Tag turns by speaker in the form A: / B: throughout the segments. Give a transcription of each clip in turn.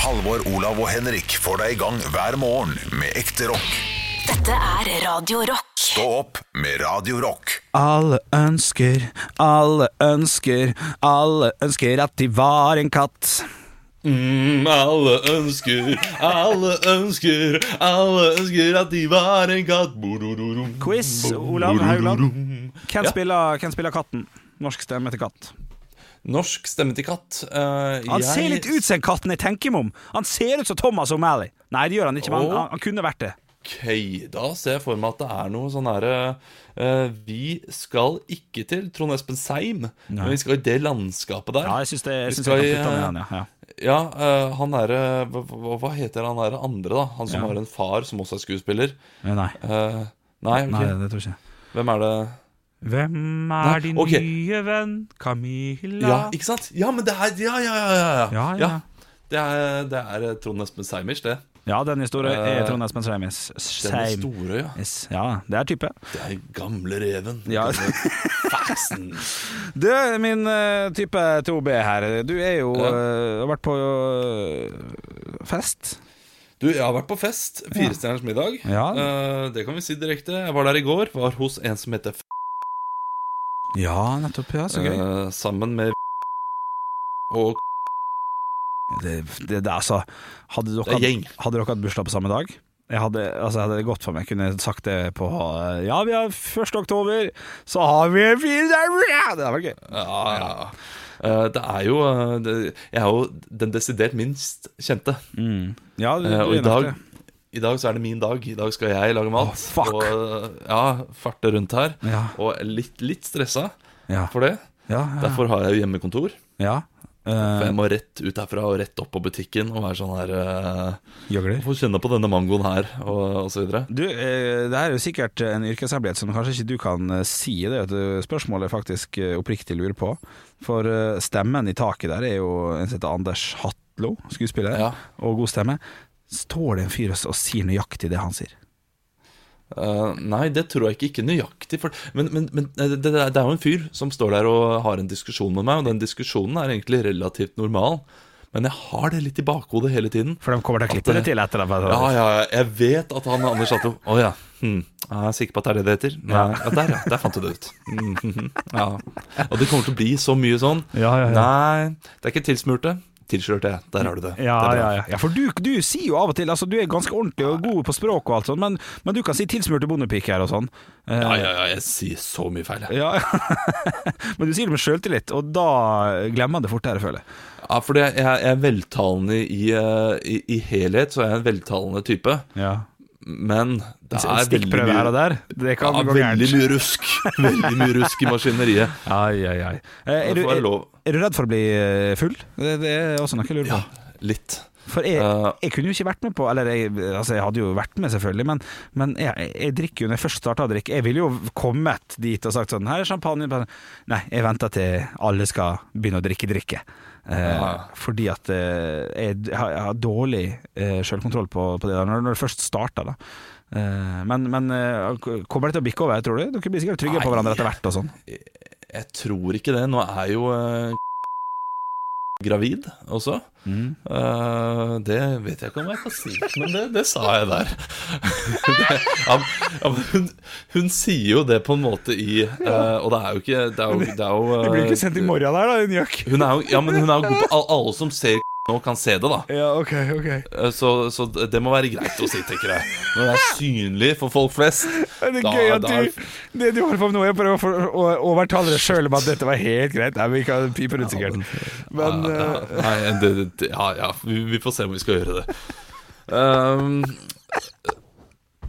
A: Halvor, Olav og Henrik får deg i gang hver morgen med ekte rock.
B: Dette er Radio Rock.
A: Stå opp med Radio Rock.
C: Alle ønsker, alle ønsker, alle ønsker at de var en katt.
D: Mm, alle ønsker, alle ønsker, alle ønsker at de var en katt. Bododorum.
C: Quiz, Olav Haugland. Hvem
D: Ja.
C: spiller, hvem spiller katten? Norsk stemme til katt.
D: Norsk stemme til katt. Eh,
C: Han
D: jeg-
C: ser litt ut som katten jeg tenker meg om. Han ser ut som Thomas O'Malley. Nei, det gjør han ikke, men han,
D: Åh.
C: han, han kunne vært det.
D: Ok, da ser jeg for meg at det er noe sånn herre Vi skal ikke til Trond Espen Seim, men vi skal i det landskapet der.
C: Ja, jeg syns det. Jeg
D: Vi
C: syns
D: skal
C: jeg
D: i,
C: kan putte han i
D: eh,
C: han, ja. ja.
D: Ja, eh, han derre hva, hva hva heter han derre andre, da? Han som har en far som også er skuespiller.
C: Men Nei,
D: Eh, nei, ok.
C: nei, det tror jeg ikke.
D: hvem er det
C: Hvem
D: Nei,
C: er din
D: ok.
C: nye venn? Camilla?
D: Ja, ikke sant? Ja, men det er Ja, ja, ja. ja, ja.
C: Ja, ja.
D: det, er, det er eh, Trond Espen Seimers, det.
C: ja den historien er
D: Eh,
C: Trond Espen Seimis.
D: Den er store, ja.
C: Yes. Ja, det er type.
D: Det er gamle reven.
C: Ja.
D: Faxen.
C: Du, min eh, type 2B her. Du er jo
D: Ja.
C: eh, har vært på eh, fest.
D: Du, jeg har vært på fest. Firestjerners middag.
C: Ja.
D: Eh, det kan vi si direkte. Jeg var der i går. Var hos en som heter F.
C: Ja, nettopp. Ja,
D: eh, sammen med og
C: Det, det, det, altså, hadde dere,
D: Det er gjeng.
C: hadde dere hatt bursdag på samme dag? Jeg hadde, altså, jeg hadde det gått for meg. Jeg kunne sagt det på eh, Ja, vi har 1. oktober, så har vi en fin dag! Det hadde vært gøy.
D: Ja, ja. Eh, det er jo eh, det, Jeg er jo den desidert minst kjente.
C: Ja, du,
D: Eh,
C: du
D: og i
C: er nok
D: dag,
C: det.
D: i dag så er det min dag. I dag skal jeg lage mat.
C: fuck.
D: Og eh, ja, farte rundt her.
C: Ja.
D: Og litt, litt stressa
C: Ja.
D: for det.
C: Ja, ja.
D: Derfor har jeg jo hjemmekontor.
C: ja.
D: For
C: Eh,
D: jeg må rett ut herfra og rett opp på butikken og være sånn her eh,
C: Gjøgler.
D: Få kjenne på denne mangoen her, og, og så videre.
C: Du, eh, det her er jo sikkert en yrkeshemmelighet som kanskje ikke du kan eh, si. Det er jo et spørsmål jeg faktisk eh, oppriktig lurer på. For eh, stemmen i taket der er jo en som heter Anders Hatlo, skuespiller,
D: Ja.
C: og god stemme. Står det en fyr og s- og sier nøyaktig det han sier?
D: Eh, nei, det tror jeg ikke. Ikke nøyaktig. For, men men, men eh, det, det er det er jo en fyr som står der og har en diskusjon med meg, og den diskusjonen er egentlig relativt normal. Men jeg har det litt i bakhodet hele tiden.
C: For de kommer til å klippe det til etter det. sånn.
D: Ja, ja, ja, jeg vet at han Anders Hatlo Å ja. Hm. Jeg er sikker på at det er det det heter. Nei, ja, der, ja. Der fant du det ut. Mhm, mhm. Ja. Og det kommer til å bli så mye sånn.
C: Ja, ja, ja.
D: Nei, det er ikke tilsmurte. Tilslørte. Der har du det.
C: Ja,
D: det er
C: ja,
D: bra.
C: ja. ja, for du, du sier jo av og til altså, Du er ganske ordentlig og god på språk og alt sånt, men, men du kan si tilsmurte bondepiker og sånn. Eh,
D: ja, ja, ja. Jeg sier så mye feil. jeg.
C: ja. men du sier det med sjøltillit, og da glemmer man det fortere, føler jeg.
D: Ja, fordi jeg, jeg er veltalende i, eh, i, i helhet, så er jeg en veltalende type.
C: Ja.
D: Men det er veldig
C: Stikkprøve her og
D: mye,
C: der. Det kan
D: ja,
C: gå
D: veldig
C: gærent.
D: mye rusk. Veldig mye rusk i maskineriet.
C: Ai, ai, ai. Eh, Er,
D: Det
C: du,
D: får være
C: er,
D: lov.
C: er du redd for å bli eh, full? Det, det er også noe jeg lurer på.
D: Ja, litt.
C: For jeg,
D: Eh.
C: jeg kunne jo ikke vært med på Eller jeg, altså jeg hadde jo vært med, selvfølgelig, men, men jeg, jeg drikker jo når jeg først starta å drikke. Jeg ville jo kommet dit og sagt sånn Her er champagne. bare, Nei, jeg venter til alle skal begynne å drikke drikke. Eh,
D: Ja.
C: Fordi at eh, jeg, jeg, har, jeg har dårlig eh, sjølkontroll på, på det der, når, når det først starter, da. Eh, men men eh, kommer det til å bikke over, tror du? Dere blir sikkert trygge på
D: Nei.
C: hverandre etter hvert og sånn.
D: Jeg tror ikke det. Nå er jo eh, gravid også.
C: Mm.
D: Eh, det vet jeg ikke om jeg kan si, men det, det sa jeg der. det, ja, ja, men hun, hun sier jo det på en måte i eh, Og det er jo ikke Det er jo, det er jo eh,
C: morgen der, da, din jakk.
D: hun er jo, ja, men hun er jo god på al- Alle som ser nå, kan se det, da.
C: Ja, ok, ok.
D: Eh, Så, så det må være greit å si, tenker jeg. Når det er synlig for folk flest.
C: Er det
D: Da-
C: gøy at
D: da er-
C: du, det du holder på med nå, jeg prøver å for- å overtale deg sjøl om at dette var helt greit. Nei, vi kan pipe rundt sikkert. Men
D: ja,
C: eh,
D: ja, nei, det, det, ja, ja vi, vi får se om vi skal gjøre det. Ehm,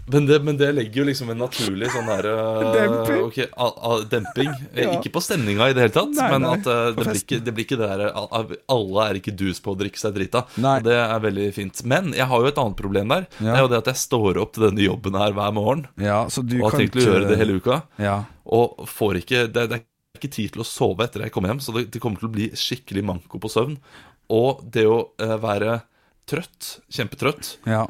D: men, det men det legger jo liksom en naturlig sånn der eh,
C: Demping.
D: ok, a- a- demping. Eh,
C: Ja.
D: Ikke på stemninga i det hele tatt,
C: Nei,
D: men
C: nei,
D: at eh,
C: på
D: det, blir ikke,
C: festen.
D: det blir ikke det der eh, al- al- Alle er ikke dus på å drikke seg drita.
C: Nei.
D: Og det er veldig fint. Men jeg har jo et annet problem der.
C: Ja.
D: Det er jo det at jeg står opp til denne jobben her hver morgen.
C: Ja, så du
D: Og har
C: kan
D: tenkt å gjøre det hele uka.
C: Ja.
D: Og får ikke det, det er ikke tid til å sove etter jeg kommer hjem, så det, det kommer til å bli skikkelig manko på søvn. Og det å eh, være trøtt, kjempetrøtt,
C: Ja,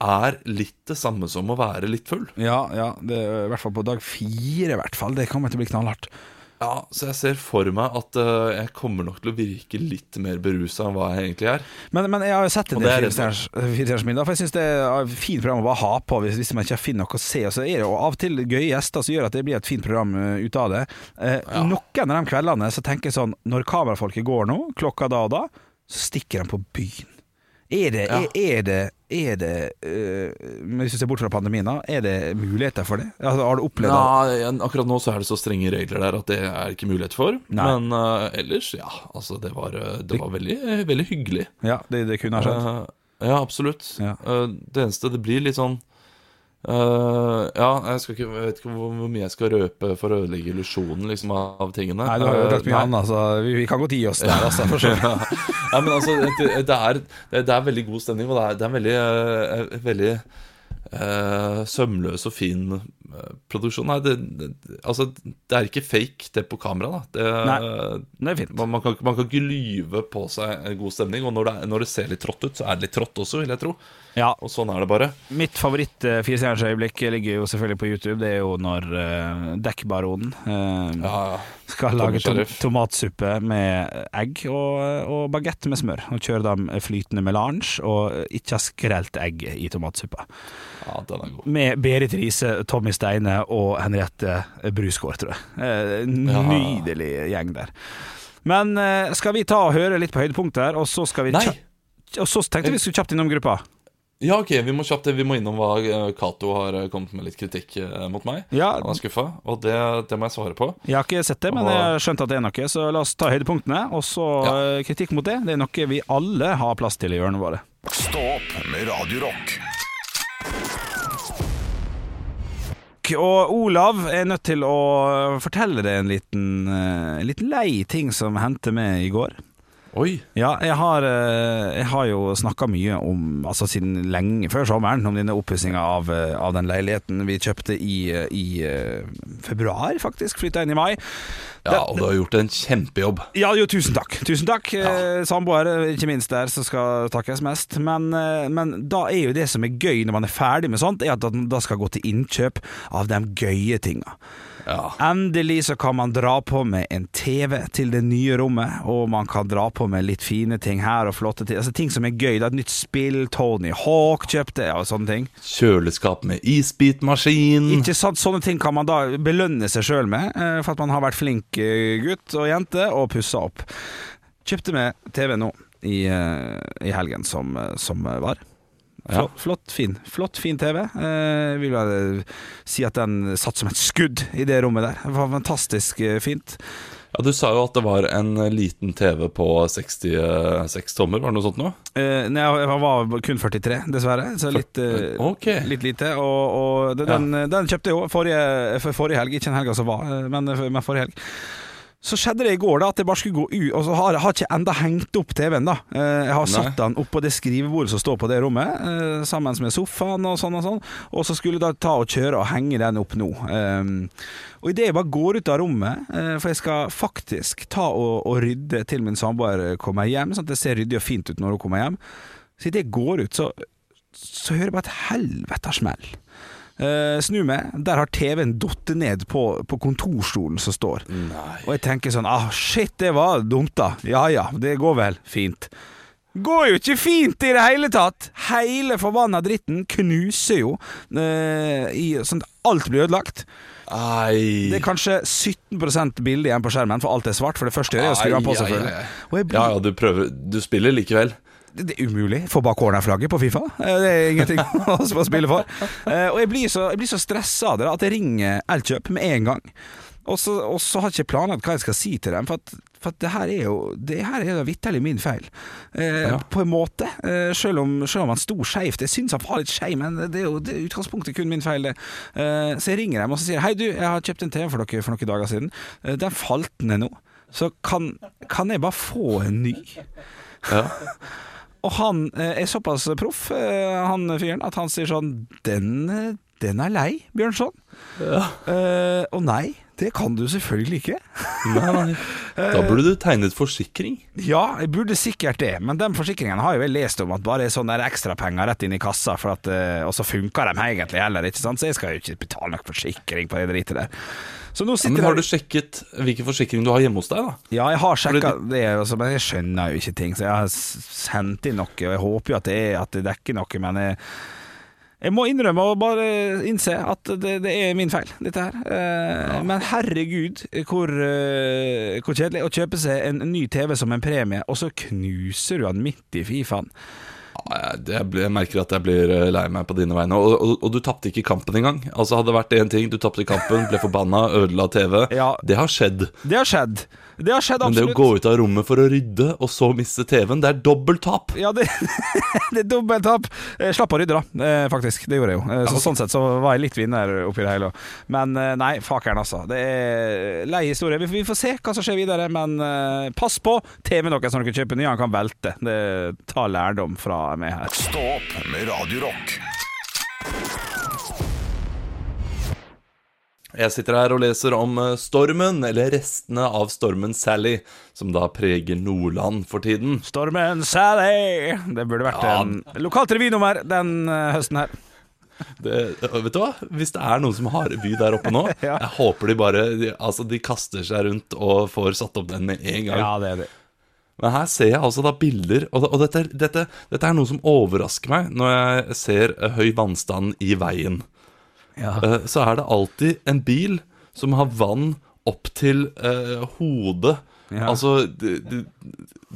D: er litt det samme som å være litt full.
C: ja, ja det, er i hvert fall på dag fire, i hvert fall. Det kommer til å bli knallhardt.
D: Ja, Så jeg ser for meg at eh, jeg kommer nok til å virke litt mer berusa enn hva jeg egentlig er.
C: Men, men jeg har jo sett en
D: Og
C: del
D: det er
C: Fire stjerners Fire Stjerners middag, for jeg syns det er et fint program å bare ha på hvis, hvis man ikke finner noe å se. Og så er det jo av og til gøye gjester som gjør at det blir et fint program eh, ut av det. Eh, Noen av de kveldene så tenker jeg sånn Når kamerafolket går nå, klokka da og da, så stikker de på byen. Er det,
D: Ja.
C: er, er det, er det eh, men Hvis du ser bort fra pandemien, da, er det muligheter for det? Altså, har du opplevd det?
D: Ja, igjen, akkurat nå så er det så strenge regler der at det er ikke mulighet for.
C: Nei.
D: Men eh, ellers, ja. Altså, det var, eh, det var veldig, eh, veldig hyggelig.
C: Ja, det, det kunne ha skjedd.
D: Eh, ja, absolutt.
C: Ja.
D: Eh, det eneste det blir litt sånn eh, ja, jeg, skal ikke, jeg vet ikke hvor, hvor mye jeg skal røpe for å ødelegge illusjonen liksom, av av tingene.
C: Nei, du har jo
D: Eh,
C: rett mye
D: nei.
C: annet, altså. Vi, vi kan godt gi oss der, altså. For så vidt.
D: ja. Nei, men altså, det, det, er, det, det er veldig god stemning, og det er, det er en veldig, eh, eh, veldig eh, sømløs og fin eh, produksjon. Nei, det, det, altså, det er ikke fake, det på kamera. Da. Det,
C: Det er fint.
D: Man, man, kan, ikke- man kan ikke lyve på seg en god stemning, og når det, er- når det ser litt trått ut, så er det litt trått også, vil jeg tro.
C: Ja,
D: Og sånn er det bare.
C: Mitt eh, favoritt-firestjernersøyeblikk ligger jo selvfølgelig på YouTube. Det er jo når eh, dekkbaronen eh,
D: Ja, ja.
C: skal
D: Tommy
C: lage tom
D: Sheriff.
C: tomatsuppe med egg og, og bagett med smør. Og kjører dem flytende melange og ikke har skrelt egg i tomatsuppa.
D: ja den er god.
C: Med Berit Riise, Tommy Steine og Henriette Brusgaard, tror jeg. Eh,
D: Ja.
C: Nydelig gjeng der. Men eh, skal vi ta og høre litt på høydepunkter, og så skal vi
D: Nei!
C: kjapt- Og så tenkte vi skulle kjapt innom gruppa.
D: Ja, ok, vi må kjapt Vi må innom hva eh, Cato har eh, kommet med litt kritikk eh, mot meg.
C: Ja,
D: Han er skuffa, og det, det må jeg svare på.
C: Jeg har ikke sett det, men jeg har skjønt at det er noe, så la oss ta høydepunktene. Og så
D: Ja.
C: eh, kritikk mot det. Det er noe vi alle har plass til i hjørnet våre.
A: Stå opp med Radio Rock.
C: Og Olav er nødt til å fortelle deg en liten, eh, litt lei ting som hendte meg i går.
D: Oi!
C: Ja, jeg har, eh, jeg har jo snakka mye om, altså siden lenge før sommeren, om denne oppussinga av, eh, av den leiligheten vi kjøpte i, eh, i eh, februar, faktisk. Flytta inn i mai.
D: Ja, og du har gjort en kjempejobb.
C: Ja, jo, tusen takk. Tusen takk. Eh, Samboere, ikke minst der, som skal takkes mest. Men, eh, men da er jo det som er gøy når man er ferdig med sånt, er at man da skal gå til innkjøp av de gøye tinga.
D: Ja.
C: Endelig så kan man dra på med en TV til det nye rommet, og man kan dra på med litt fine ting her og flotte ting. Altså ting som er gøy. Det er et nytt spill, Tony Hawk kjøpte og sånne ting.
D: Kjøleskap med isbitmaskin.
C: Ikke sant, Sånne ting kan man da belønne seg sjøl med, eh, for at man har vært flink eh, gutt og jente og pussa opp. Kjøpte med TV nå i, eh, i helgen som, eh, som var.
D: Ja.
C: Flott, flott, fin Flott, fin TV. Eh, vil bare si at den satt som et skudd i det rommet der. Det var fantastisk eh, fint.
D: Ja, Du sa jo at det var en eh, liten TV på 66 tommer, var det noe sånt noe?
C: Eh, nei, jeg var kun 43, dessverre, så litt, eh,
D: Ok.
C: litt lite. Og, og den, den, den kjøpte jeg jo forrige, for forrige helg, ikke den helga som var, eh, men, men forrige helg. Så skjedde det i går da at jeg bare skulle gå ut, og så har jeg har ikke enda hengt opp TV-en. da Eh, Jeg har
D: Nei.
C: satt den opp på det skrivebordet som står på det rommet, eh, sammen med sofaen og sånn og sånn, og så skulle jeg da ta og kjøre og henge den opp nå. Eh, Og idet jeg bare går ut av rommet, eh, for jeg skal faktisk ta og, og rydde til min samboer kommer hjem, sånn at det ser ryddig og fint ut når hun kommer hjem, så idet jeg går ut, så, så hører jeg bare et helvetes smell. Eh, snu meg, der har TV-en datt ned på, på kontorstolen som står.
D: Nei.
C: Og jeg tenker sånn ah, Shit, det var dumt, da. Ja ja, det går vel. Fint. Går jo ikke fint i det hele tatt! Hele forbanna dritten knuser jo. Eh, i, sånn at alt blir ødelagt. Det
D: Nei.
C: er kanskje 17 bilde igjen på skjermen, for alt er svart. For det første jeg gjør, er å skru den på,
D: Ai, ai,
C: selvfølgelig.
D: ai.
C: Og jeg
D: Ja
C: blir,
D: ja, du prøver Du spiller likevel.
C: det er umulig. Få bak cornerflagget på Fifa. Eh, Det er ingenting å å spille for. Eh, Og jeg blir så, jeg blir så stressa av det da, at jeg ringer Elkjøp med en gang. Og så, og så har jeg ikke planlagt hva jeg skal si til dem, for, at, for at det her er jo Det her er da vitterlig min feil. Eh,
D: Ja.
C: På en måte. Eh, selv, om, selv om han sto skeivt. Jeg syns han var litt skeiv, men det er jo det er utgangspunktet kun min feil, det. Eh, så jeg ringer dem og så sier jeg, Hei, du, jeg har kjøpt en TV for dere for noen dager siden. Eh, den falt ned nå. Så kan, kan jeg bare få en ny?
D: Ja.
C: Og han eh, er såpass proff, eh, han fyren, at han sier sånn Den, eh, den er lei, Bjørnson. Å eh, å nei, Det kan du selvfølgelig ikke.
D: Nei, nei. Da burde du tegnet forsikring.
C: Ja, jeg burde sikkert det, men den forsikringen har jo jeg lest om at bare er sånne der ekstrapenger rett inn i kassa, for at, eh, og så funker de egentlig heller, ikke sant? så jeg skal jo ikke betale noen forsikring på det dritet der. Så nå sitter
D: Men har
C: jeg-
D: du sjekket hvilken forsikring du har hjemme hos deg, da?
C: Ja, jeg har sjekka det, altså, men jeg skjønner jo ikke ting, så jeg har s- sendt inn noe, og jeg håper jo at det, er, at det dekker noe, men jeg, jeg må innrømme og bare innse at det, det er min feil, dette her. Eh, Men herregud, hvor, eh, hvor kjedelig å kjøpe seg en ny TV som en premie, og så knuser du han midt i Fifaen.
D: Ja, jeg, jeg, ble, jeg merker at jeg blir eh, lei meg på dine vegne. Og, og, og du tapte ikke kampen engang. Altså Hadde det vært én ting, du tapte kampen, ble forbanna, ødela TV.
C: Ja.
D: Det har skjedd.
C: Det har skjedd. Det har skjedd
D: Men det å
C: absolutt.
D: gå ut av rommet for å rydde, og så miste TV-en, det er dobbelt tap.
C: Ja, det, det er dobbelt tap. Jeg slapp å rydde, da, eh, faktisk. Det gjorde jeg jo. Eh, Så, Sånn sett så var jeg litt vinner oppi det hele. også. Men eh, nei, fakeren, altså. Det er lei historie. Vi, vi får se hva som skjer videre, men eh, pass på TV-en deres når dere kjøper ny, han kan velte. Det, ta lærdom fra meg her.
A: Stå opp med Radio Rock.
D: Jeg sitter her og leser om eh, stormen, eller restene av stormen Sally, som da preger Nordland for tiden.
C: Stormen Sally! Det burde vært
D: Ja.
C: en lokalt revynummer den eh, høsten her.
D: Det, vet du hva? Hvis det er noen som har revy der oppe nå,
C: Ja.
D: jeg håper de bare de, altså, de kaster seg rundt og får satt opp den med en gang.
C: Ja, det er det.
D: Men her ser jeg altså da bilder, og, og dette, dette, dette er noe som overrasker meg når jeg ser eh, høy vannstand i veien.
C: Ja.
D: Eh, Så er det alltid en bil som har vann opp til eh, hodet.
C: Ja.
D: Altså, det, det,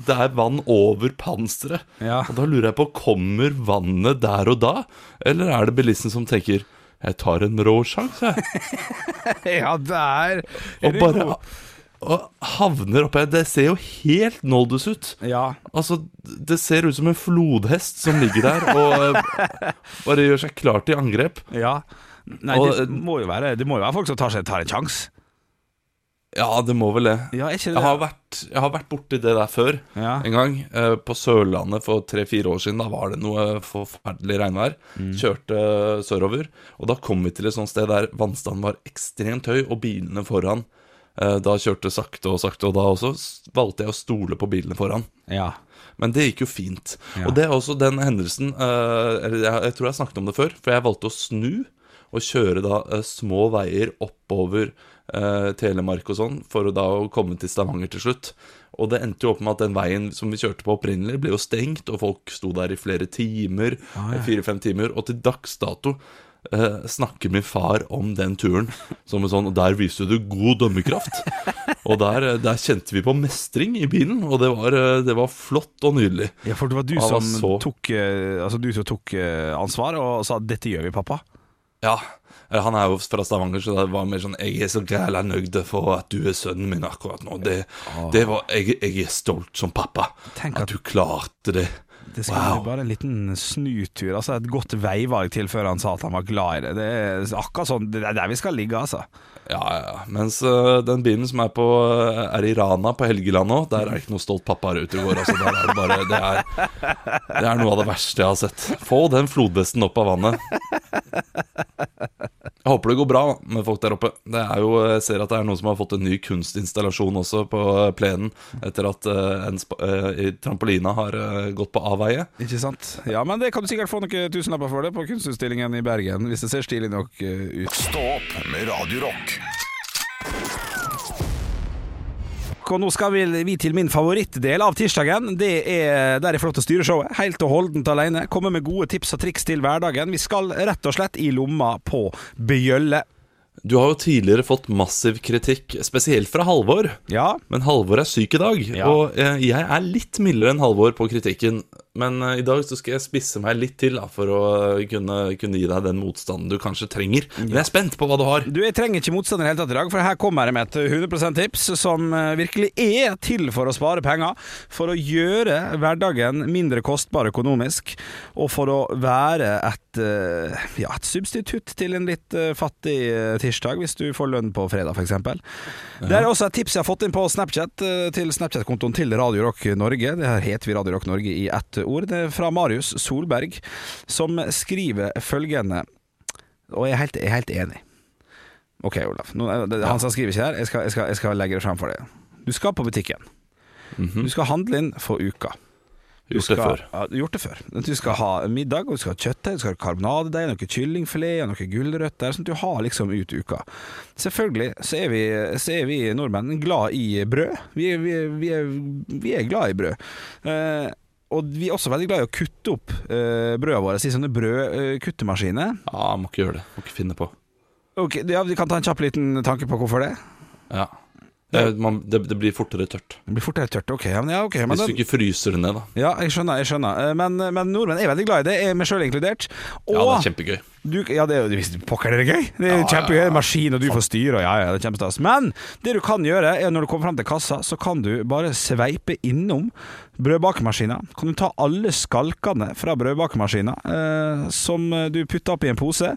D: det er vann over panseret.
C: Ja.
D: Og da lurer jeg på, kommer vannet der og da? Eller er det bilisten som tenker jeg tar en rå sjanse, jeg,
C: ja, der er
D: og
C: du
D: bare
C: god.
D: og havner oppi her. Det ser jo helt noldus ut.
C: Ja.
D: Altså, det ser ut som en flodhest som ligger der og eh, bare gjør seg klar til angrep.
C: ja. Nei,
D: Og, eh,
C: det må jo være, det må jo være folk som tar, seg, tar en sjanse.
D: Ja, det må vel det.
C: Ja, er ikke det
D: Jeg har vært, jeg har vært borti det der før
C: Ja.
D: en gang. eh, på Sørlandet for tre-fire år siden. Da var det noe forferdelig regnvær.
C: Mm.
D: Kjørte sørover. Og da kom vi til et sånt sted der vannstanden var ekstremt høy, og bilene foran eh, da kjørte sakte og sakte, og da også s- valgte jeg å stole på bilene foran.
C: Ja.
D: Men det gikk jo fint.
C: Ja.
D: Og det er også den hendelsen eh, Eller jeg, jeg tror jeg snakket om det før, for jeg valgte å snu og kjøre da eh, små veier oppover eh, Telemark og sånn, for å da å komme til Stavanger til slutt. Og det endte jo opp med at den veien som vi kjørte på opprinnelig, ble jo stengt, og folk sto der i flere timer, fire-fem timer, og til dags dato eh, snakker min far om den turen som en sånn Og der viste du god dømmekraft. Og der, eh, der kjente vi på mestring i bilen, og det var, eh, det var flott og nydelig.
C: Ja, for det var du
D: Han var
C: som
D: så-
C: tok eh, Altså du som tok eh, ansvar og sa 'dette gjør vi, pappa'.
D: Ja, eh, han er jo fra Stavanger, så det var mer sånn Jeg er så græla nøyd for at du er sønnen min akkurat nå. Det, det var jeg, jeg er stolt som pappa.
C: Ah. Tenk at-
D: At du klarte det.
C: Det skulle
D: Wow.
C: bare en liten snutur. Altså Et godt veivalg til før han sa at han var glad i det. Det er akkurat sånn Det er der vi skal ligge, altså.
D: Ja, ja, ja. Mens eh, den bilen som er, på, eh, er i Rana på Helgeland nå, der er det ikke noe stolt pappa her ute og går. Altså, der er det, bare, det, er, det er noe av det verste jeg har sett. Få den flodhesten opp av vannet. Jeg håper det går bra med folk der oppe. Det er jo, jeg ser at det er noen som har fått en ny kunstinstallasjon også på eh, plenen, etter at eh, en spa, eh, i trampolina har eh, gått på avveie.
C: Ikke sant? Ja, men det kan du sikkert få noen tusenlapper for det på kunstutstillingen i Bergen, hvis det ser stilig nok eh, ut.
A: Stå opp med Radio Rock.
C: Og nå skal vi, vi til min favorittdel av tirsdagen. Det er der jeg får lov til å styre showet. Helt og holdent alene. Komme med gode tips og triks til hverdagen. Vi skal rett og slett i lomma på bjølle.
D: Du har jo tidligere fått massiv kritikk, spesielt fra Halvor.
C: Ja,
D: Men Halvor er syk i dag,
C: Ja.
D: og eh, jeg er litt mildere enn Halvor på kritikken. Men eh, i dag så skal jeg spisse meg litt til da, for å eh, kunne, kunne gi deg den motstanden du kanskje trenger. Men jeg er spent på hva du har.
C: Du, Jeg trenger ikke motstand i det hele tatt i dag, for her kommer jeg med et 100 tips som eh, virkelig er til for å spare penger, for å gjøre hverdagen mindre kostbar økonomisk, og for å være et, eh, ja, et substitutt til en litt eh, fattig eh, tirsdag, hvis du får lønn på fredag, f.eks. Det er også et tips jeg har fått inn på Snapchat, eh, til Snapchat-kontoen til Radio Rock Norge. Det her heter vi Radio Rock Norge i ett ord. Det er fra Marius Solberg, som skriver følgende, og jeg er helt, jeg er helt enig. Ok, Olav. Nå, eh, det, han som skriver ikke her, jeg skal, jeg, skal, jeg skal legge det frem for deg. Du skal på butikken. Du skal handle inn for uka. Du
D: Mhm. Gjort det
C: skal-
D: før.
C: Ja, du har gjort det før. Du skal ha middag, og du skal ha kjøttdeig, du skal ha karbonadedeig, noe kyllingfilet og noe gulrøtter. Sånn at du har liksom ut uka. Selvfølgelig så er vi, så er vi nordmenn glad i brød. Vi er, vi er, vi er, vi er glad i brød. Eh, og vi er også veldig glad i å kutte opp eh, brødene våre i sånne brødkuttemaskiner.
D: Ja, må ikke gjøre det. Må ikke finne på.
C: Ok, ja, vi kan ta en kjapp liten tanke på hvorfor det.
D: Ja. Det, man, det, det blir fortere tørt.
C: Det blir fortere tørt. Ok, ja, men, ja, ok, men
D: Hvis
C: da,
D: du ikke fryser det ned, da.
C: ja, jeg skjønner. jeg skjønner Eh, Men, men nordmenn er veldig glad i det, jeg er meg sjøl inkludert. Og
D: Ja, det er kjempegøy.
C: Du, ja, det er jo visst pokker det er gøy. Det er
D: Ja,
C: kjempegøy.
D: ja, ja.
C: Maskin, og du får styre, og ja, ja, det er kjempestas. Men det du kan gjøre, er når du kommer fram til kassa, så kan du bare sveipe innom brødbakemaskina. Kan du ta alle skalkene fra brødbakemaskina eh, som du putter opp i en pose,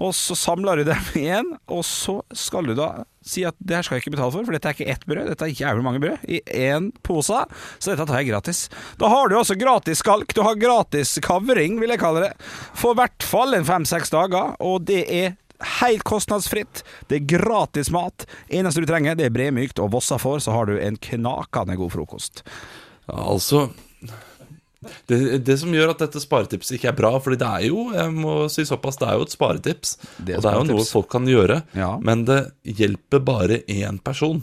C: og så samler du dem igjen, og så skal du da si at det her skal jeg ikke betale for, for dette er ikke ett brød, dette er jævlig mange brød i én pose, så dette tar jeg gratis. Da har du altså gratis skalk, du har gratis kavring, vil jeg kalle det, for i hvert fall en fem-seks dager, og det er helt kostnadsfritt. Det er gratis mat. Eneste du trenger, det er bremykt og vossa får, så har du en knakende god frokost.
D: Ja, altså det, det som gjør at dette sparetipset ikke er bra, Fordi det er jo jeg må si såpass, det er jo et sparetips,
C: Det er
D: og det er jo noe
C: sparetips.
D: folk kan gjøre,
C: Ja.
D: men det hjelper bare én person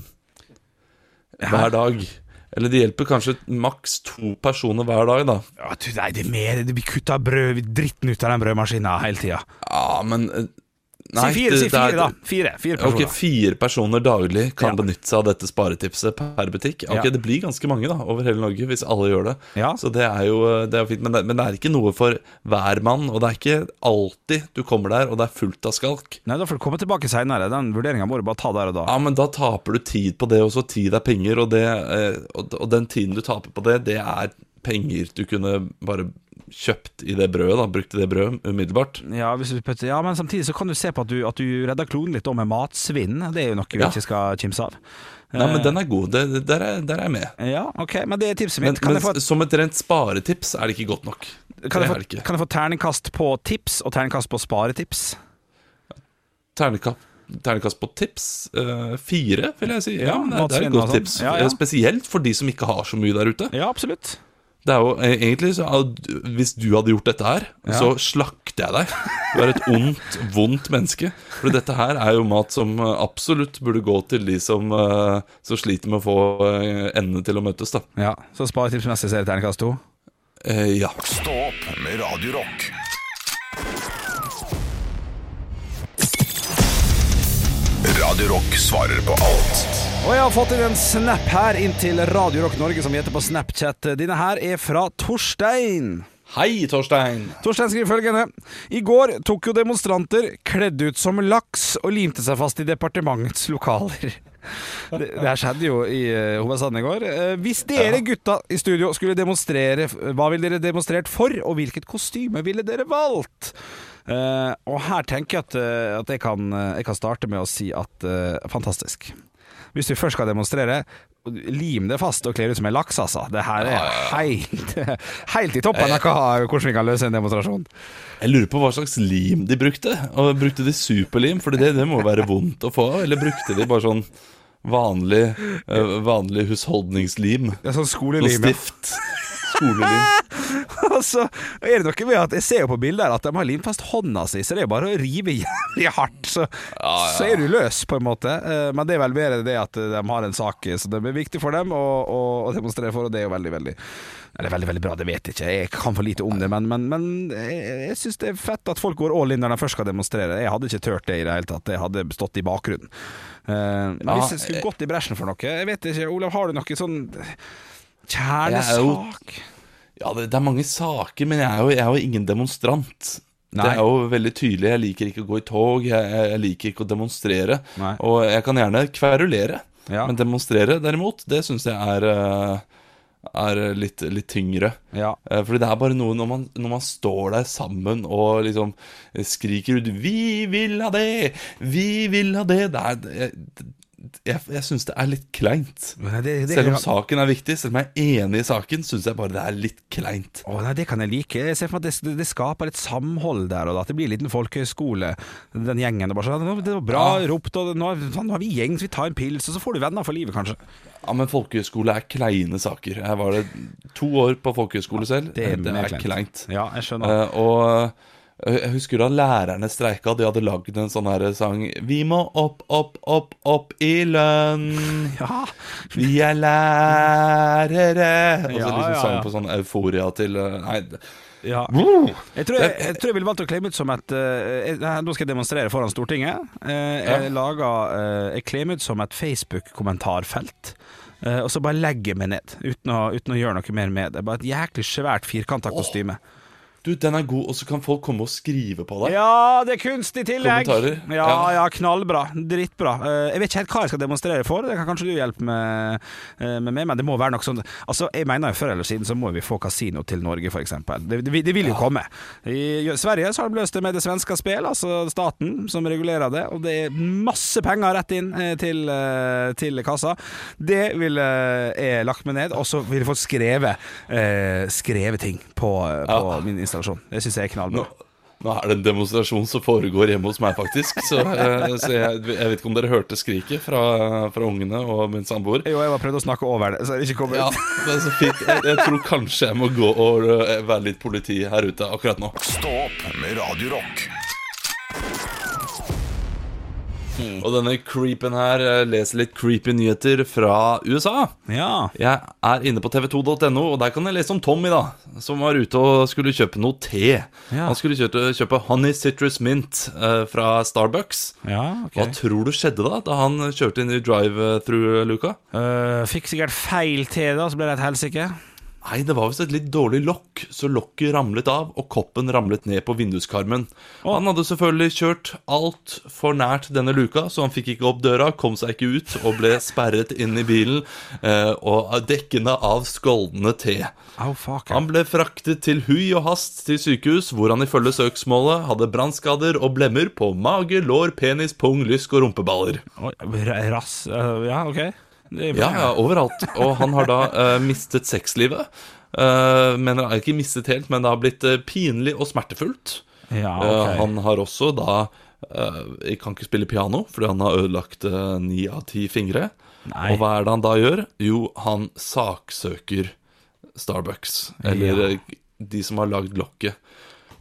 D: hver dag. Eller det hjelper kanskje maks to personer hver dag, da.
C: Ja, du, nei, det er mer, vi kutter brød, vi dritten ut av den brødmaskina hele tida.
D: Ja, men eh,
C: Si
D: nei,
C: fire,
D: det-
C: si
D: det er-
C: fire, da. Fire, fire
D: Ok,
C: personer.
D: Fire personer daglig kan
C: Ja.
D: benytte seg av dette sparetipset per butikk. Ok,
C: Ja.
D: Det blir ganske mange da, over hele Norge hvis alle gjør det.
C: Ja.
D: Så det er jo det er jo fint, men det, men det er ikke noe for hver mann. Og det er ikke alltid du kommer der og det er fullt av skalk.
C: Nei, da får du komme tilbake seinere. Den vurderinga må du bare ta der og da.
D: Ja, men da taper du tid på det også. Tid er penger, og, det, eh, og, og den tiden du taper på det, det er penger du kunne bare kjøpt i det brødet, da, brukt i det brødet umiddelbart.
C: Ja, hvis du putter, ja, men samtidig så kan du se på at du, at du redder kloden litt òg med matsvinn. Det er jo noe vi
D: Ja.
C: ikke skal kimse av.
D: Nei,
C: Eh.
D: men den er god. Det, der, er, der er jeg med.
C: Ja, ok, men det er tipset
D: Men,
C: mitt. Kan,
D: men
C: jeg, få,
D: som et rent sparetips er det ikke godt nok.
C: kan,
D: det
C: jeg,
D: er det
C: få,
D: ikke.
C: kan jeg få terningkast på tips og terningkast på sparetips?
D: Ternekast, ternekast på tips. eh, fire, vil jeg si. Ja,
C: Ja,
D: men det, er- det
C: matsvinn
D: er et
C: og
D: godt
C: sånn.
D: tips.
C: Ja, ja.
D: Eh, Spesielt for de som ikke har så mye der ute.
C: Ja, absolutt.
D: Det er jo eh, egentlig så, eh, Hvis du hadde gjort dette her, så slakter jeg deg. Du er et ondt, vondt menneske. For dette her er jo mat som eh, absolutt burde gå til de som, eh, som sliter med å få eh, endene til å møtes, da.
C: Ja, Så sparetipsmessig så er det terningkast to.
D: Eh, ja.
A: Stå opp med Radio Rock. Radio Rock svarer på alt.
C: Og jeg har fått inn en snap her inn til Radio Rock Norge, som vi heter på Snapchat. Dine her er fra Torstein.
D: Hei, Torstein.
C: Torstein skriver følgende I går tok jo demonstranter kledd ut som laks og limte seg fast i departementets lokaler. Det, det her skjedde jo i eh, hovedstaden i går. Eh, hvis dere gutta i studio skulle demonstrere, hva ville dere demonstrert for, og hvilket kostyme ville dere valgt? Eh, og her tenker jeg at, eh, at jeg, kan, eh, jeg kan starte med å si at eh, fantastisk. Hvis du først skal demonstrere, lim det fast og kle det ut som en laks, altså. Det her er helt, helt i toppen av hva- hvordan vi kan løse en demonstrasjon.
D: Jeg lurer på hva slags lim de brukte. Og Brukte de superlim? Fordi det, det må jo være vondt å få av. Eller brukte de bare sånn vanlig, eh, vanlig husholdningslim?
C: Det er sånn
D: Sånn
C: skolelim. ja.
D: stift. Skolelim.
C: altså, er det noe med at Jeg ser jo på bilder at de har limt fast hånda si, så det er jo bare å rive jævlig hardt, så, så er du løs, på en måte. Eh, Men det er vel mer det at de har en sak som er viktig for dem å, å, å demonstrere for, og det er jo veldig, veldig eller veldig veldig bra, det vet jeg ikke. Jeg kan for lite om det. Men, men, men jeg, jeg syns det er fett at folk går all in når de først skal demonstrere. Jeg hadde ikke turt det i det hele tatt. Jeg hadde stått i bakgrunnen. Eh, Men
D: Ja,
C: hvis jeg skulle gått i bresjen for noe Jeg vet ikke. Olav, har du noe sånn
D: Jeg er jo-
C: kjernesak?
D: Ja, det, det er mange saker, men jeg er jo, jeg er jo ingen demonstrant. Det
C: Nei.
D: er jo veldig tydelig. Jeg liker ikke å gå i tog, jeg, jeg- jeg liker ikke å demonstrere.
C: Nei.
D: Og jeg kan gjerne kverulere,
C: Ja.
D: men demonstrere derimot, det syns jeg er, eh, er litt, litt tyngre.
C: Ja.
D: Eh, Fordi det er bare noe når man, når man står der sammen og liksom skriker ut 'Vi vil ha det! Vi vil ha det!' Det er, det- jeg, jeg syns det er litt kleint.
C: Nei, det, det,
D: Selv om saken er viktig, selv om jeg er enig i saken, syns jeg bare det er litt kleint.
C: Å, nei, det kan jeg like. Jeg ser for meg at det, det skaper litt samhold der, og at det blir en liten folkehøyskole. Den gjengen det bare sånn «Nå, 'Det var bra ropt', og nå, er- faen, 'Nå er vi gjeng, så vi tar en pils', og så får du venner for livet, kanskje.
D: Ja, men folkehøyskole er kleine saker. Jeg var det to år på folkehøyskole selv. Det,
C: mer
D: er kleint.
C: Ja, jeg skjønner.
D: Eh, og eh, jeg husker da lærerne streika, de hadde lagd en sånn her sang Vi må opp, opp, opp, opp i lønn.
C: Ja,
D: Vi er lærere. Og så
C: Ja, ja,
D: liksom sang
C: ja.
D: på sånn euforia til eh, Nei. det-
C: ja. Jeg tror jeg, jeg, tror jeg ville valgt å klemme ut som et eh, jeg- Nå skal jeg demonstrere foran Stortinget. Eh, jeg, laga, eh, jeg klemmer ut som et Facebook-kommentarfelt. eh, og så bare legger jeg meg ned, uten å, uten å gjøre noe mer med det. Bare et jæklig svært firkanta kostyme.
D: Du, den er god, og så kan folk komme og skrive på deg.
C: Ja, det er kunst i tillegg.
D: Kommentarer.
C: Ja,
D: Ja.
C: ja, knallbra. Drittbra. Eh, Jeg vet ikke helt hva jeg skal demonstrere for, det kan kanskje du hjelpe med, eh, med meg, men det må være noe sånn Altså, jeg mener jo før eller siden så må vi få kasino til Norge, f.eks. Det, det, det vil jo komme. I Sverige så har de løst det med det svenske spill, altså staten som regulerer det, og det er masse penger rett inn eh, til, eh, til kassa. Det ville jeg lagt meg ned, og så ville folk skrevet, eh, skrevet ting på, eh, på
D: Ja.
C: min installasjon. Det syns jeg er knallbra.
D: Nå, nå er det en demonstrasjon som foregår hjemme hos meg, faktisk. Så, eh, så jeg, jeg vet ikke om dere hørte skriket fra, fra ungene og min samboer.
C: Jo, jeg bare prøvde å snakke over det, så det ikke kom ut.
D: Ja, det er så fint. Jeg, jeg tror kanskje jeg må gå og eh, være litt politi her ute akkurat nå.
A: Stå opp med Radio Rock.
D: Og denne creepen her eh, leser litt creepy nyheter fra USA.
C: Ja.
D: Jeg er inne på tv2.no, og der kan jeg lese om Tommy, da. Som var ute og skulle kjøpe noe te.
C: Ja.
D: Han skulle kjøpe, kjøpe honey citrus mint eh, fra Starbucks.
C: Ja, ok.
D: Hva tror du skjedde da, da han kjørte inn i drive-through-luka?
C: Øh, fikk sikkert feil te, da, så ble det et helsike.
D: Nei, det var visst et litt dårlig lokk, så lokket ramlet av, og koppen ramlet ned på vinduskarmen. Han hadde selvfølgelig kjørt altfor nært denne luka, så han fikk ikke opp døra, kom seg ikke ut, og ble sperret inn i bilen, eh, og dekkende av skåldende te.
C: Au, fuck.
D: Han ble fraktet til hui og hast til sykehus, hvor han ifølge søksmålet hadde brannskader og blemmer på mage, lår, penis, pung, lysk og rumpeballer.
C: Oi, ra- rass øh, Ja, ok. Det er
D: Ja, ja, overalt. Og han har da eh, mistet sexlivet. Eh, men han har ikke mistet helt, men det har blitt eh, pinlig og smertefullt.
C: Ja,
D: Eh,
C: Ah, ok.
D: han har også da eh, jeg Kan ikke spille piano, fordi han har ødelagt eh, ni av ti fingre.
C: Nei.
D: Og hva er det han da gjør? Jo, han saksøker Starbucks. Eller
C: Ja.
D: eh, de som har lagd lokket.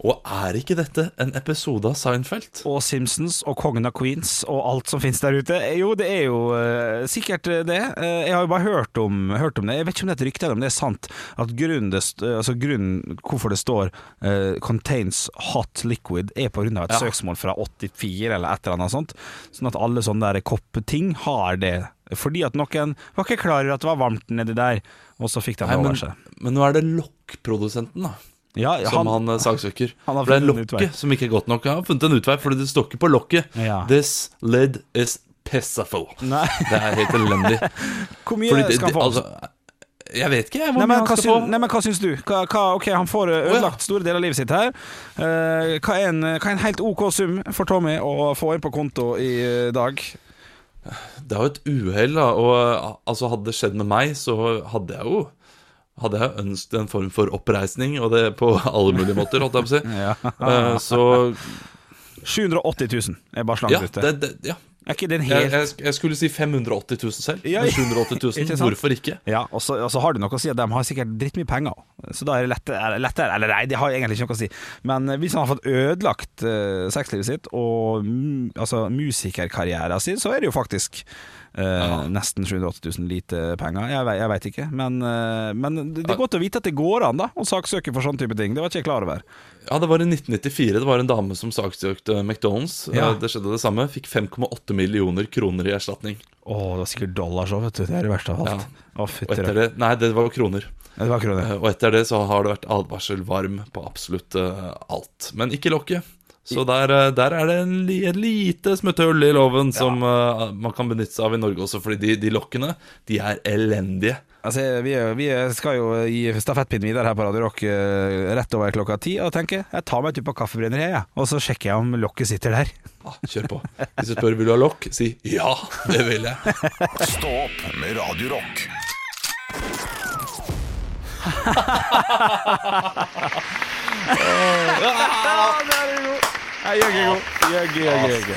D: Og er ikke dette en episode av Seinfeld?
C: Og Simpsons og Kongen av Queens og alt som finnes der ute. Eh, Jo, det er jo øh, sikkert øh, det. Eh, jeg har jo bare hørt om, hørt om det. Jeg vet ikke om det er et rykte eller om det er sant at grunnen, det st altså grunnen hvorfor det står eh, 'contains hot liquid', er på grunn av et
D: Ja.
C: søksmål fra 84 eller et eller annet sånt. Sånn at alle sånne der koppeting har det. Fordi at noen var ikke klar over at det var varmt nedi der, og så fikk de det
D: Nei,
C: over
D: men,
C: seg.
D: men nå er det lokkprodusenten, da.
C: Ja,
D: Som han, eh, saksøker.
C: han har
D: for det er
C: funnet en utvei.
D: lokket som ikke er godt nok. Han har funnet en utvei, fordi det står ikke på lokket.
C: Ja.
D: This lid is pissaful.
C: Nei,
D: Det er helt elendig.
C: hvor mye
D: Fordi det,
C: skal han
D: det,
C: få?
D: altså, jeg vet ikke jeg, hvor
C: Nei
D: mye
C: men,
D: han
C: hva
D: skal
C: syns,
D: få.
C: nei, men hva syns du? Hva, hva, ok, Han får ø,
D: ja.
C: ødelagt store deler av livet sitt her. Eh, hva, er en, hva er en helt OK sum for Tommy å få inn på konto i ø, dag?
D: Det er jo et uhell, da. Og eh, altså, hadde det skjedd med meg, så hadde jeg jo hadde jeg ønsket en form for oppreisning, og det på alle mulige måter, holdt jeg på å si. Eh, Så
C: 780 000 er bare
D: ja,
C: slangt ute.
D: det, det, ja.
C: Er ikke den
D: Jeg,
C: helt
D: jeg, jeg skulle si 580 000 selv,
C: Ja,
D: men 780
C: ikke
D: 000,
C: sant?
D: hvorfor ikke?
C: ja, og så, og så har du noe å si at de har sikkert drittmye penger, så da er det lettere, er det lettere Eller nei, det har egentlig ikke noe å si, men eh, hvis han har fått ødelagt ø, sexlivet sitt og mu- altså, musikerkarrieren sin, så er det jo faktisk ø, nesten 780 000 lite penger. Jeg, ve- jeg veit ikke, men, ø, men det det er godt å vite at det går an da å saksøke for sånne type ting. Det var ikke jeg klar over.
D: Ja, det var i 1994. Det var en dame som saksøkte McDonald's.
C: Ja.
D: Eh, Det skjedde det samme. Fikk 5,8 millioner kroner i erstatning.
C: Å, det var sikkert dollars òg, vet du. Det er det verste av alt. Å,
D: Og
C: fytti
D: etter
C: rakkeren.
D: det Nei, det var kroner.
C: Det var kroner.
D: Eh, Og etter det så har det vært advarsel varm på absolutt eh, alt. Men ikke lokket. Så der, eh, der er det en li, et lite smutthull i loven som eh, man kan benytte seg av i Norge også, fordi de, de lokkene, de er elendige.
C: Altså, vi, er- vi er- skal jo gi stafettpinnen videre her på Radio Rock eh, rett over klokka ti, og tenker jeg tar meg en tur på kaffebrenneriet, jeg, og så sjekker jeg om lokket sitter der.
D: Ah, kjør på. Hvis du spør vil du ha lokk, si ja, det vil jeg.
A: Stå opp med Radio Rock.
C: Jeg jøgger god. Jøgge, jøgge, jøgge.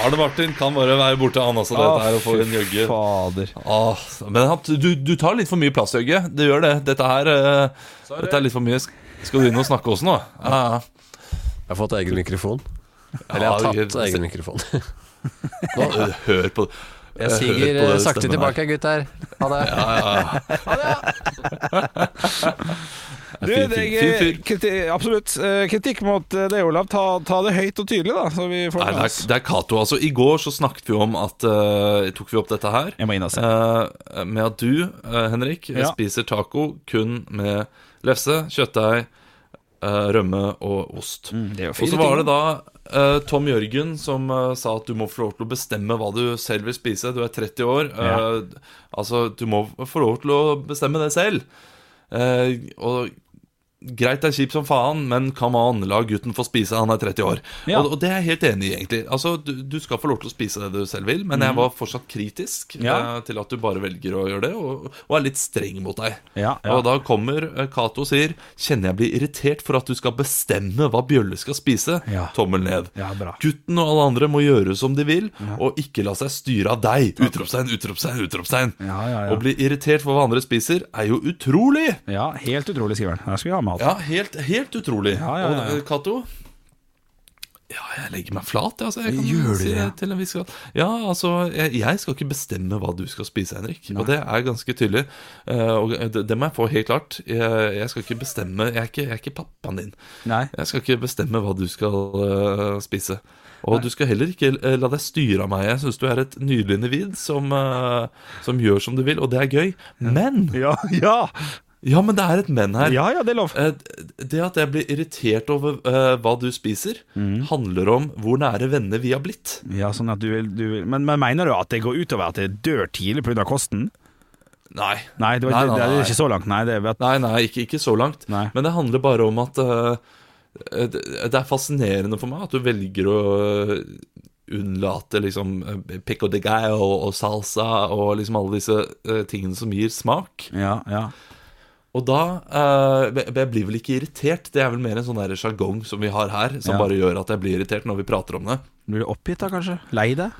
D: Arne Martin kan bare være borte, han også,
C: Ah,
D: dette her, og få en jøgge.
C: Fader.
D: Ah, men han- du, du tar litt for mye plass, Jøgge. Du gjør det. Dette her eh, Dette er litt for mye. Sk- Skal du inn og snakke også nå? Ah. Ja, ja.
E: Jeg har fått egen mikrofon. Eller jeg
D: Ja,
E: har tatt
D: Jørgen,
E: egen mikrofon.
D: Eh, Hør på
E: Jeg siger
D: hør på
E: eh,
D: den
E: sakte
D: stemmen
E: tilbake, gutter. Ha det.
D: her.
C: Du,
D: Fin
C: det
D: fyr,
C: er,
D: fin fyr.
C: kriti- absolutt. Eh, Kritikk mot eh, det, Olav. Ta, ta det høyt og tydelig, da. Så vi får
D: Nei,
C: det
D: det
C: med
D: er,
C: oss.
D: det er Cato, altså. I går så snakket vi om at eh, Tok vi opp dette her?
C: Jeg må inn og se.
D: Eh, med at du, eh, Henrik,
C: Ja.
D: spiser taco kun med lefse, kjøttdeig, eh, rømme og ost.
C: det er jo
D: og så
C: fire
D: var
C: ting.
D: det da eh, Tom Jørgen som eh, sa at du må få lov til å bestemme hva du selv vil spise. Du er 30 år. eh,
C: Ja.
D: altså, du må få lov til å bestemme det selv. Eh, og Greit det er kjipt som faen, men come on, la gutten få spise, han er 30 år.
C: Ja.
D: Og, og det er jeg helt enig i, egentlig. Altså, du, du skal få lov til å spise det du selv vil, men jeg var fortsatt kritisk
C: Mhm. Ja.
D: eh, til at du bare velger å gjøre det, og, og er litt streng mot deg.
C: Ja, ja.
D: Og da kommer eh, Cato og sier 'Kjenner jeg blir irritert for at du skal bestemme hva Bjølle skal spise?'
C: Ja.
D: Tommel ned.
C: Ja, bra.
D: Gutten og alle andre må gjøre som de vil, og ikke la seg styre av deg. Utropstegn, utropstegn, utropstegn.
C: Ja, ja, ja.
D: Å bli irritert for hva andre spiser, er jo utrolig!
C: ja, helt utrolig, skriver han. Her skal vi ha med alt.
D: Ja, helt, helt utrolig.
C: Ja, ja, ja.
D: Og eh, Cato Ja, jeg legger meg flat, jeg, altså. Jeg kan
C: Gjør du
D: si
C: det?
D: til en viss grad. Ja, altså, jeg, jeg skal ikke bestemme hva du skal spise, Henrik. Og det er ganske tydelig. Eh, og det, det må jeg få helt klart. Jeg, jeg skal ikke bestemme Jeg er ikke, jeg er ikke pappaen din.
C: Nei.
D: Jeg skal ikke bestemme hva du skal eh, spise. Og du skal heller ikke eh, la deg styre av meg. Jeg syns du er et nydelig individ som, eh, som gjør som du vil, og det er gøy. Men!
C: Ja, ja!
D: Ja, men det er et men her.
C: Ja, ja, det er lov.
D: Eh, Det at jeg blir irritert over eh, hva du spiser,
C: Mhm.
D: handler om hvor nære venner vi har blitt.
C: Ja, sånn at du vil, du vil. Men, men mener du at det går utover at det dør tidlig pga. kosten?
D: Nei.
C: Nei, det, var,
D: Nei, nei,
C: det, det
D: nei.
C: er ikke så langt. Nei, det er at,
D: Nei, nei, ikke, ikke så langt.
C: Nei.
D: Men det handler bare om at eh, det, det er fascinerende for meg at du velger å eh, unnlate liksom eh, pico de gallo og, og salsa og liksom alle disse eh, tingene som gir smak.
C: ja, ja.
D: Og da eh, be- Jeg blir vel ikke irritert. Det er vel mer en sånn der sjargong som vi har her,
C: Ja.
D: som bare gjør at jeg blir irritert når vi prater om det.
C: Blir du oppgitt da, kanskje? Lei deg?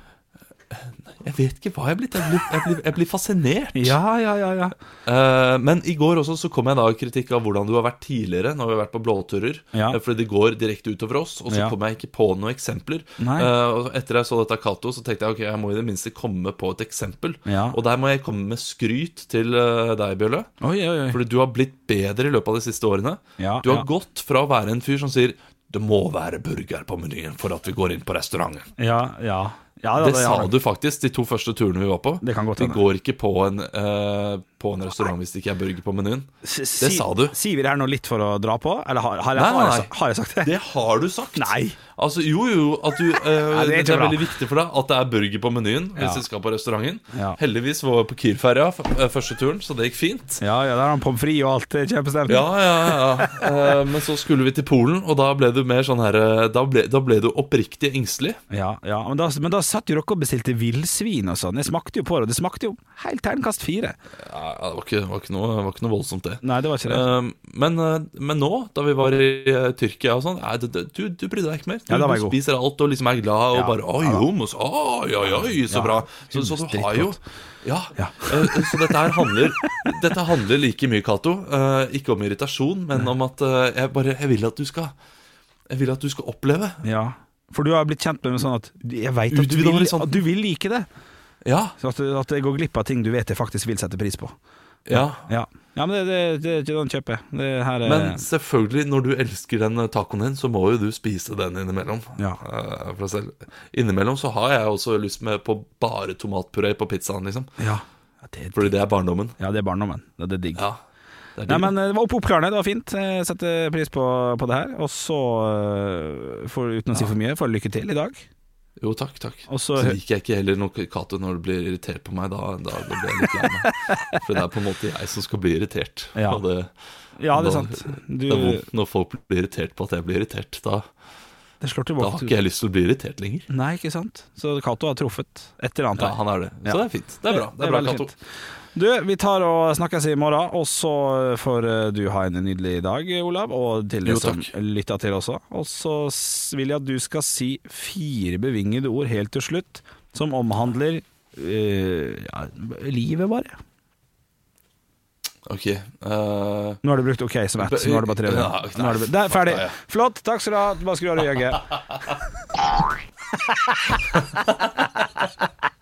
D: Jeg vet ikke hva jeg er blitt. Jeg blir, jeg blir, jeg blir fascinert.
C: Ja, ja, ja. ja.
D: Eh, men i går også så kom jeg da i kritikk av hvordan du har vært tidligere når vi har vært på blåturer.
C: Ja.
D: Eh, Fordi det går direkte utover oss, og så
C: Ja.
D: kom jeg ikke på noen eksempler.
C: Nei.
D: Eh, og etter jeg så dette av Cato, så tenkte jeg ok, jeg må i det minste komme på et eksempel.
C: Ja.
D: Og der må jeg komme med skryt til eh, deg, Bjølle.
C: Oi, oi, oi.
D: Fordi du har blitt bedre i løpet av de siste årene.
C: Ja,
D: du har
C: ja.
D: gått fra å være en fyr som sier 'det må være burger på menyen for at vi går inn på restauranten'.
C: Ja, ja. ja da,
D: Det
C: da-
D: sa du faktisk de to første turene vi var på.
C: Det kan godt
D: Vi
C: hende.
D: går ikke på en, eh, på en restaurant hvis det ikke er burger på menyen.
C: Si-
D: Det sa du.
C: Sier vi det her nå litt for å dra på? Eller har, har, jeg,
D: Nei, nei,
C: har, jeg,
D: nei.
C: sa- har jeg sagt det?
D: Det har du sagt.
C: Nei.
D: Altså, jo, jo, at du,
C: det
D: eh, det,
C: er
D: er
C: ikke bra.
D: veldig viktig for deg at det er burger på menyen
C: Ja.
D: hvis vi skal på restauranten.
C: Ja.
D: Heldigvis var vi på Kiel-ferja f- eh, første turen, så det gikk fint.
C: Ja, ja, der har han pommes frites og alt. det er Kjempestemning.
D: Ja, ja, ja. Eh, men så skulle vi til Polen, og da ble du mer sånn her eh, Da ble, da ble du oppriktig engstelig.
C: Ja, ja. Men, da, men da satt jo dere og bestilte villsvin og sånn. Jeg smakte jo på det, og det smakte jo helt terningkast fire.
D: Ja, det var ikke, var ikke, noe, var ikke noe voldsomt, det.
C: Nei, det var ikke det.
D: Eh, men, eh, men nå, da vi var i eh, Tyrkia og sånn nei, du, du, du brydde deg ikke mer. Du,
C: Ja, da var jeg
D: du
C: god.
D: spiser alt og liksom er glad og
C: Ja,
D: bare Oi, hummus, oi, oi, oi, så
C: Ja,
D: bra. Så, så
C: hummus,
D: du har jo
C: drittgodt.
D: Ja.
C: Ja.
D: eh, så dette her handler Dette handler like mye, Cato, eh, ikke om irritasjon, men om at eh, jeg bare Jeg vil at du skal Jeg vil at du skal oppleve.
C: Ja. For du har blitt kjent med meg sånn at jeg veit at, du
D: Utvidet
C: vil-
D: horisonten.
C: at du vil like det.
D: Ja.
C: Så at, at jeg går glipp av ting du vet jeg faktisk vil sette pris på.
D: ja.
C: Ja, ja men det, det, det, det den kjøper jeg. Det her er
D: Men selvfølgelig, når du elsker den tacoen din, så må jo du spise den innimellom.
C: Ja.
D: Eh, for selv. Innimellom så har jeg også lyst med på bare tomatpuré på pizzaen, liksom.
C: ja. Ja, det,
D: Fordi det er barndommen.
C: ja, det er barndommen. Det, det er digg.
D: Ja. Det
C: Nei,
D: er digg.
C: men eh, det var opp oppklarende, det var fint. Jeg setter pris på, på det her. Og så, eh, får- uten å si for mye, får du lykke til i dag.
D: Jo, takk, takk.
C: Og
D: Så
C: så
D: liker jeg ikke heller noe Cato når du blir irritert på meg. Da, da blir jeg litt lei meg. For det er på en måte jeg som skal bli irritert.
C: Ja.
D: Og det,
C: Ja, det er
D: da-
C: sant. Du,
D: det er vondt når folk blir irritert på at jeg blir irritert. Da,
C: det slår
D: da
C: tilbake.
D: har ikke jeg lyst til å bli irritert lenger.
C: Nei, ikke sant. Så Cato har truffet et eller annet
D: Ja,
C: her.
D: han er det.
C: Ja.
D: Så det er fint. Det er bra, det er bra
C: veldig
D: Cato.
C: fint. Du, vi tar og snakkes i morgen, og så får eh, du ha en nydelig dag, Olav. Og til de
D: Jo,
C: som
D: takk.
C: lytter til også. Og så s- vil jeg at du skal si fire bevingede ord helt til slutt, som omhandler eh, ja, livet, bare.
D: Ok. eh,
C: Nå har du brukt OK som ett, så nå har du bare tre.
D: Ja,
C: Nå har du, det er ferdig.
D: nei, ja.
C: Flott. Takk skal du ha. Bare skru av røyket.